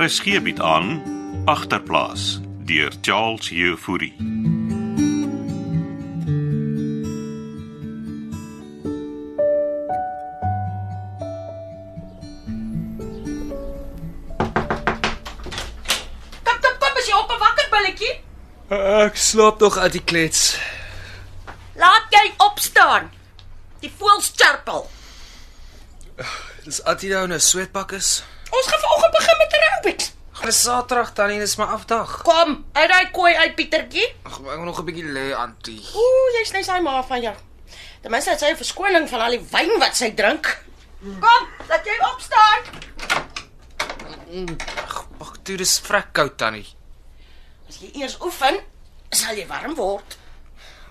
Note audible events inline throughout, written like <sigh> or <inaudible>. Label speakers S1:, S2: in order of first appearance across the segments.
S1: RSG bied Er aan agterplaas deur Charles Jefouri.
S2: Kom, kom, kom, as jy op 'n wakker billetjie.
S3: Ek slaap nog uit die klets.
S2: Laat jy opstaan. Die voëls chirpel.
S3: Dis Atina nou 'n sweetpak is.
S2: Ons gaan vanoggend begin met aerobics.
S3: Dis Saterdag tannie, dis my afdag.
S2: Kom, uit daai kooi uit Pietertjie.
S3: Ag, ek wil nog 'n bietjie lê, antie.
S2: Ooh, jy's net sy ma van jou. Ten minste het sy 'n verskoning van al die wyn wat sy drink. Kom, laat jy opstaan.
S3: Ag, toe dis vrek koud tannie.
S2: As jy eers oefen, sal jy warm word.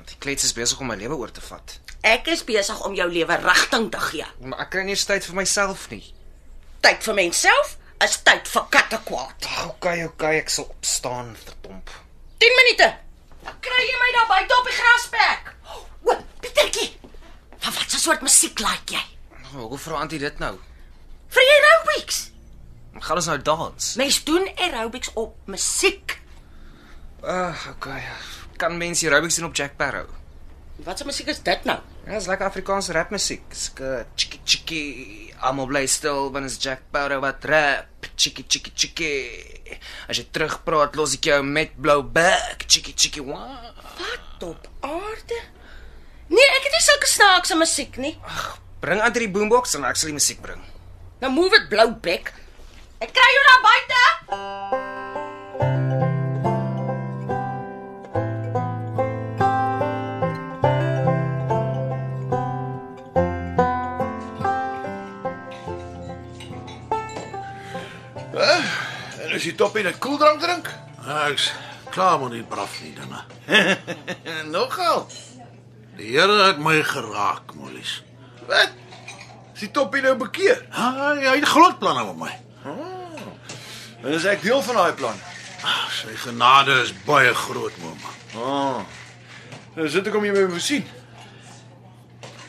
S3: Die klets is besig om my lewe oor te vat.
S2: Ek is besig om jou lewe rigting te gee.
S3: Maar ek kry nie eens tyd vir myself nie.
S2: Tyd vir menself is tyd vir katte kwaad.
S3: Ag, okay, okay, ek sal opstaan, verdomp.
S2: 10 minute. Dan kry jy my daar buite op die grasperk. O, Pietertjie. Van wat 'n soort musiek like jy?
S3: Nou, Hoekom vra antie dit nou?
S2: Vir jy aerobics.
S3: Gaan ons nou dans?
S2: Mens doen aerobics op musiek.
S3: Ag, okay. Kan mense aerobics doen op Jack Sparrow?
S2: Wat 'n musiek is dit nou?
S3: Ja, dis lekker Afrikaanse rapmusiek. Ske chiki chiki. Almal bly stil wanneer is Jack Bauer wat rap. Chiki chiki chiki. As jy terugpraat, los ek jou met blou bek. Chiki chiki wa.
S2: Wat op aarde? Nee, ek het nie sulke snaakse musiek nie.
S3: Bring aan die boombox en ek sal die musiek bring.
S2: Nou move dit blou bek. Ek kry jou daar buite.
S4: En as jy top in 'n koeldrank drink?
S5: Ek's Ja, klaar met die braaf nie dinge.
S4: <laughs> Nogal.
S5: Die Here het my geraak, Mollies.
S4: Wat? Is die top in nou bekeer?
S5: Hy hy het groot planne met my.
S4: En is ek deel van daai plan.
S5: Ah, Sy genade is baie groot, mamma.
S4: Ah. Nou sit ek om jy my moet sien.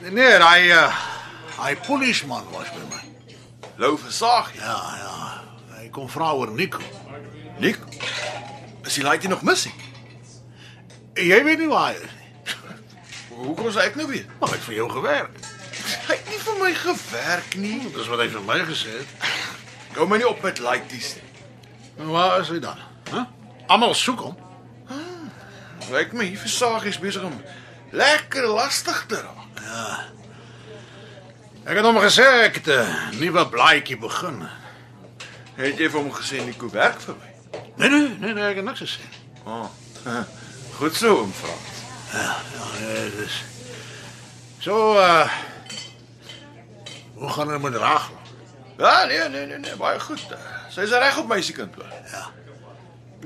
S5: Nee, hy uh, hy polisieman was by my.
S4: Lou versaag jy.
S5: Ja, ja. Hy kom vra oor Nico.
S4: Nik. Is die laaitie nog mis?
S5: Jy weet nie waar hy is nie.
S4: <laughs> Hoe kon sy ek nou weet?
S5: Maar hy het vir jou gewerk.
S4: Hy het nie vir my gewerk nie.
S5: Dis wat hy vir my gesê het.
S4: Ek hou my nie op met laaities nie.
S5: Nou waar is hy dan? Hæ? Huh? Almal soek hom.
S4: Lyk my Ah, hier versaag is besig om lekker lastig te raak.
S5: Ek het hom gesê ek het 'n nuwe blaadjie begin.
S4: Het jy vir hom gesê Nico werk vir my?
S5: Nee nee, nee, nee ek het niks gesê.
S4: Ah. <laughs> Goed so, oom Frans.
S5: Nee, dis. So uh Hoe gaan dit met Rachel?
S4: Ja, nee, nee, nee, nee, baie goed. eh, Sy's reg op meisiekind hoor.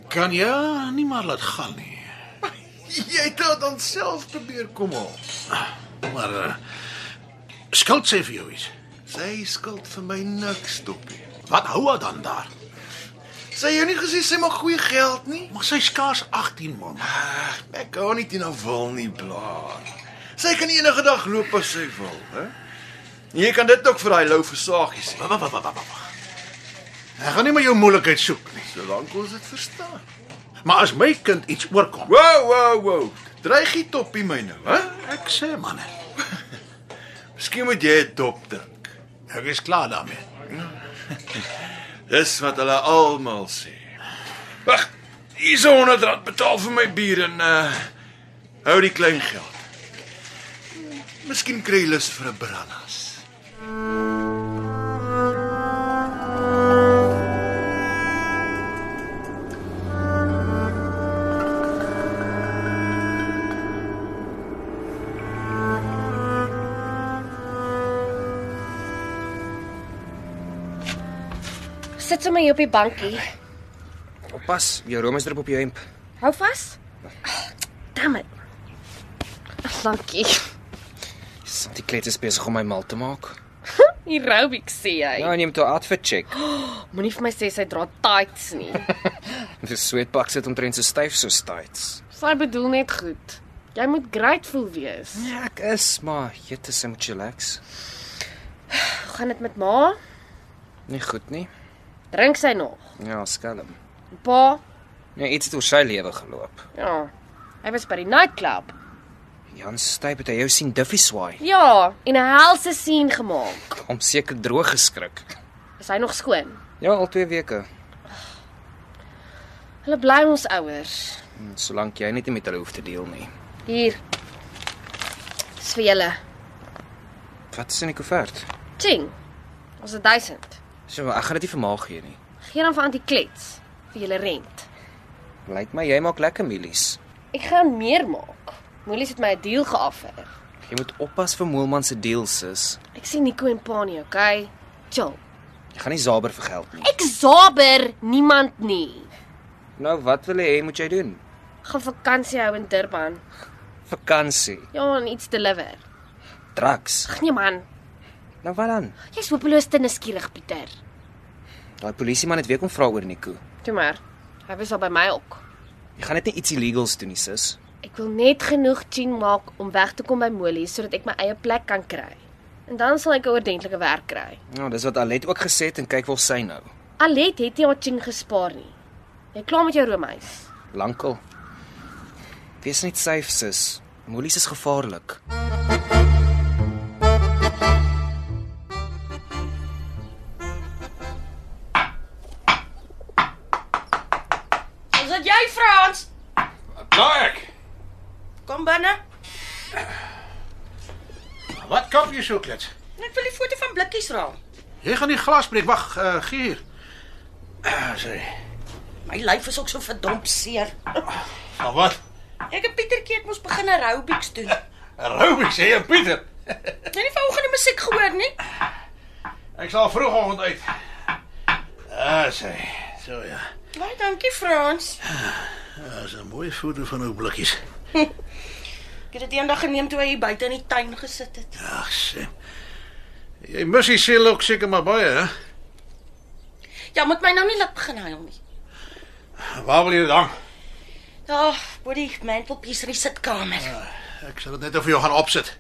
S5: Kan jy nie maar laat gaan
S4: <laughs>
S5: nie.
S4: Jy het dit aan self probeer kom haal.
S5: Maar uh skuld sê vir jou iets.
S4: Sy skuld vir my niks dopie.
S5: Wat hou haar dan daar?
S4: Sy het jou nie gesê sy maak goeie geld nie.
S5: Maar sy is skaars 18 man.
S4: Ag, ek hou nie teen haar wil nie, blaar. Sy kan enige dag loop as sy wil, hè? En jy kan dit ook vir daai lou versaagie sê,
S5: Wa wa wa wa wa. wa. Ek gaan nie maar jou moeilikheid soek nie.
S4: solank ons dit verstaan.
S5: Maar as my kind iets oorkom,
S4: Wow, wow, wow. Dreig nie toppie my nou, hè?
S5: ek sê man,
S4: <laughs> Miskien moet jy 'n dop drink.
S5: ek is klaar daarmee.
S4: <laughs> Dis wat hulle almal sê. Wag, hier's 100 rand betaal vir my bier en
S5: eh,
S4: uh hou die klein geld. Miskien kry jy lus vir 'n brandas.
S6: Sit sommer hier op die bankie.
S3: Oppas, jou room is drup op jou hemp.
S6: Hou vas. Damn it. Ag, Dankie.
S3: Dis- Die klets is besig om my mal te maak.
S6: Aerobics sê jy.
S3: Ja, neem toe outfit <gasps> check.
S6: Moenie vir my sê sy dra tights <laughs> nie.
S3: Die sweetpak sit omtrent so styf so styts.
S6: Sy bedoel net goed. Jy moet grateful wees.
S3: Ja, ek is, maar jette sy moet relax.
S6: Hoe gaan dit met ma?
S3: Nie goed nie.
S6: Drink sy nog.
S3: Ja, skelm.
S6: Pa,
S3: Nee, iets het oor sy lewe geloop.
S6: ja. Hy was by die nightclub.
S3: Jan Styp het hy jou sien duffie swaai.
S6: Ja, en 'n helse sien gemaak.
S3: Hom seker droog geskrik.
S6: Is hy nog skoon?
S3: Ja, al 2 weke.
S6: Hulle bly ons ouers.
S3: En Solank jy net nie met hulle hoef te deel nie.
S6: Hier. Dis vir julle.
S3: Wat is in die koevert?
S6: Ching. Ons het 1000.
S3: So, maar ek gaan dit nie vir ma gee nie.
S6: Geen dan vir antiklets vir julle rent.
S3: Lyk my jy maak lekker mielies.
S6: Ek gaan meer maak. Moelies het my 'n deal geaffer.
S3: Jy moet oppas vir Moelman se deals, sis.
S6: Ek sien Nico en Pani, okay? Chill.
S3: Jy gaan nie Zaber vir geld nie.
S6: Ek zaber niemand nie.
S3: Nou, wat wil jy hê moet jy doen?
S6: Gaan vakansie hou in Durban.
S3: Vakansie,
S6: Ja, en iets deliver.
S3: drugs.
S6: Ag nee man,
S3: Nou wat dan?
S6: jy's hopeloos te nuuskierig, Pieter.
S3: Daai polisieman het weer kom vra oor Nico.
S6: Toe maar. Hy was al by my ook.
S3: Jy gaan net nie iets illegals doen nie, sis.
S6: Ek wil net genoeg ching maak om weg te kom by Molies sodat ek my eie plek kan kry. En dan sal ek 'n ordentlike werk kry.
S3: Nou, dis wat Alet ook gesê het en kyk waar sy nou.
S6: Alet het nie haar ching gespaar nie. Jy klaar met jou roomhuis.
S3: Lankal. Wees net safe, sis. Molies is gevaarlik.
S2: Is dit jy, Frans?
S7: Nou ek.
S2: Kom binne.
S5: Wat kap jy so klits?
S2: Ek wil die foto van Blikkies raal.
S5: Jy gaan die glas breek. Wag, uh, gee hier. Uh, sê.
S2: My lyf is ook so verdomp seer.
S5: Nou wat?
S2: Ek en Pietertjie het mos begin aerobics doen.
S5: Aerobics sê jy, Pieter.
S2: Jy het nie vanoggend musiek gehoor nie?
S5: Ek sal vroegoggend uit. Ah, uh, sê. So ja. Nou,
S2: Baie dankie, Frans.
S5: Dat is een mooie foto van uw blikjes.
S2: Ek het dit eendag geneem toe hy hier buite in die tuin gesit het.
S5: Ach, Sam. Jy mussie seel ook seker maar baie, hè?
S2: Ja, moet my nou nie laat begin huil nie.
S5: Waar wil jy dit hang?
S2: Ja, bo die mantelpies in die sitkamer.
S5: Ek sal dit net vir jou gaan opsit.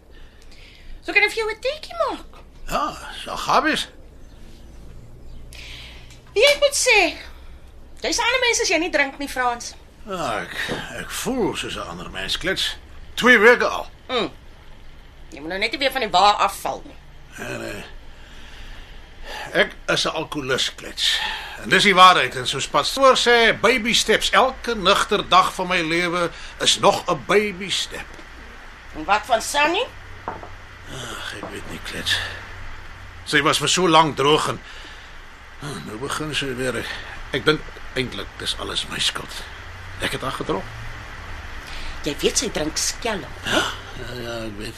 S2: So kan ek vir jou 'n teetjie maak.
S5: Ja, so gabies.
S2: Wie Ja, ek moet sê. Jy's 'n ander mens as jy nie drink nie, Frans.
S5: Ja, ek ek Ah, voel soos 'n ander mens klets. Twee weke al.
S2: Jy moet nou net nie weer van die wa afval nie.
S5: En eh ek is 'n alkolikus klets. En dis die waarheid en soos pastoor sê, baby steps. Elke nugter dag van my lewe is nog 'n baby step.
S2: En wat van Sunny?
S5: Ag, ek weet nie klets. Sy was vir so lank droog en Ah, nou begin sy weer. Ek, ek dink eintlik dis alles my skuld. Ek het haar gedrop.
S2: Jy weet sy drink skelm.
S5: Ja, ja, ek weet.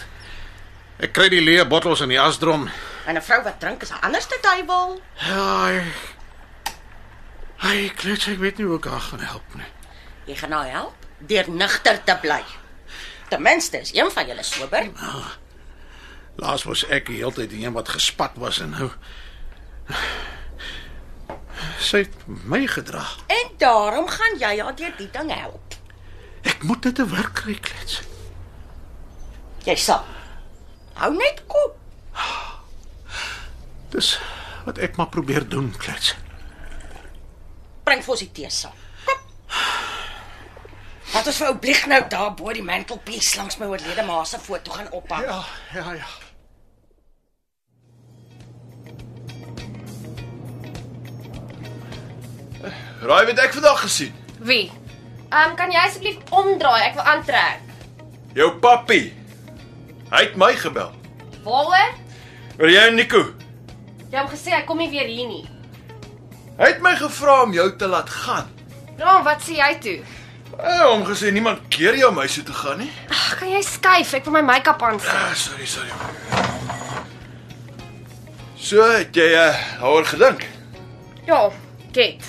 S5: Ek kry die leë bottels in die asdrom.
S2: En 'n vrou wat drink is 'n anderste duiwel.
S5: Ja. ek- Ai, klets, ek weet nie hoe ek haar gaan help nie.
S2: Jy gaan nou help deur nigter te bly. Ten minste is een van julle sober.
S5: Laas was ek die hele tyd die een wat gespat was en nou sy het my gedra.
S2: En daarom gaan jy haar deur die ding help.
S5: Ek moet dit te werk kry, klets.
S2: Jy sal. Hou net kop.
S5: Dis wat ek maar probeer doen, klets.
S2: Bring vir ons die tee saam. Kom. Wat ons vir ou Blieg nou daar bo die mantelpies langs my oorlede ma se foto gaan ophang.
S5: Ja, ja, ja.
S4: Raai wat ek vandag gesien?
S6: Wie? Ehm um, kan jy asseblief omdraai? Ek wil aantrek.
S4: Jou pappie. Hy het my gebel.
S6: Waaroor?
S4: Oor jy en Nico.
S6: Jy het hom gesê hy kom nie weer hier nie.
S4: Hy het my gevra om jou te laat gaan.
S6: Ron, Ja, wat sê jy toe?
S4: Eh, hom gesê niemand keer jou om huis toe te gaan nie.
S6: Ag, kan jy skuif? Ek wil my make-up aansit.
S4: Ah, sorry, sorry. So, het jy uh, hoor gedink.
S6: Ja, get.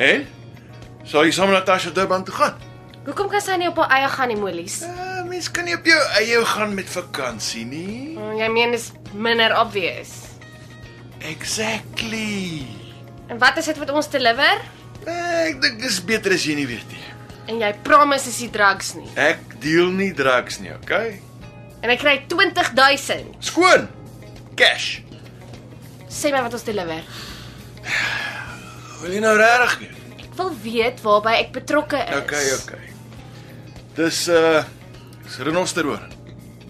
S4: En sal jy saam met Natasha Durban toe gaan?
S6: Hoekom kan sy nie op haar eie gaan nie, Molies?
S4: Uh, mens kan nie op jou eie gaan met vakansie nie.
S6: Mm, Jy meen is minder obvious.
S4: Exactly.
S6: En wat is dit wat ons deliver?
S4: Eh, ek dink dis beter as jy nie weet nie.
S6: En jy promise is nie drugs nie.
S4: Ek deel nie drugs nie, okay?
S6: En ek kry 20000.
S4: Skoon. Cash.
S6: Sê my wat ons deliver.
S4: Wil jy nou regtig nie?
S6: Ek wil weet waarby ek betrokke is.
S4: Okay, ja. okay. Dis uh dis renosterhoorn.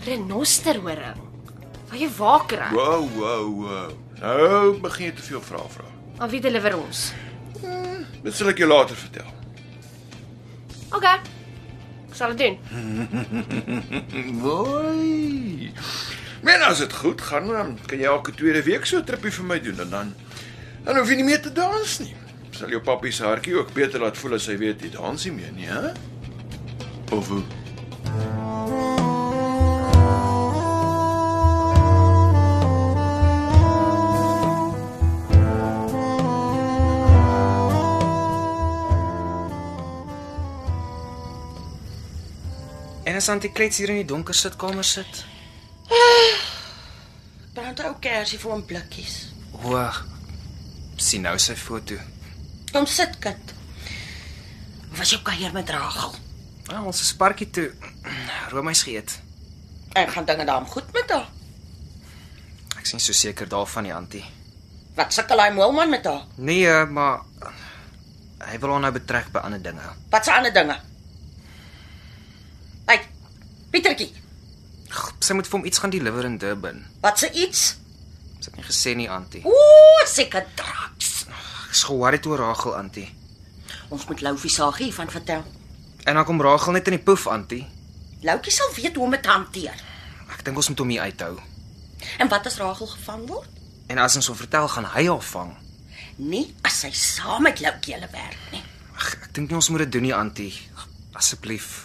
S6: Renosterhoring. Waar jy wakker aan?
S4: Wow, wow, wow. Nou begin jy te veel vrae vra.
S6: Aan wie deliver ons?
S4: Dit sal ek jou later vertel.
S6: Okay. Ek sal dit doen.
S4: Woi. Men as dit goed gaan, dan kan jy elke tweede week so 'n trippie vir my doen en dan dan hoef jy nie meer te dans nie. Sal jou pappie se hartjie ook beter laat voel as hy weet jy dans nie meer nie, hè? Of hoe?
S3: En as Antiklets hier in die donker sitkamer sit.
S2: Brand ou kersie vir hom blikkies.
S3: Hoor. Sien nou sy foto.
S2: Kom sit kind. Of Was jou kuier met Rachel?
S3: Ah, ons is parkie toe. Roomys geëet.
S2: Ek gaan dinge daarom goed met haar.
S3: Ek sien so seker daarvan die antie.
S2: Wat sukkel hy moelman met haar?
S3: Nee, eh, maar hy wil haar nou betrek by ander dinge.
S2: Wat se ander dinge? Hey, Pietertjie,
S3: Ag, Sy moet vir hom iets gaan deliver in Durban.
S2: wat se iets?
S3: Sy het nie gesê nie, antie.
S2: Ooh, seker draks.
S3: Ek's geworried oor Rachel, antie.
S2: Ons moet Loufie Sagie van vertel.
S3: En dan kom Rachel net in die poef, antie.
S2: Loutjie sal weet hoe om dit te hanteer.
S3: Ek dink ons moet hom hier uithou.
S2: En wat as Rachel gevang word?
S3: En as ons hom vertel, gaan hy haar vang.
S2: Nie as sy saam met Loutjie hulle werk nie.
S3: Ag, ek dink nie ons moet dit doen nie, antie. Asseblief.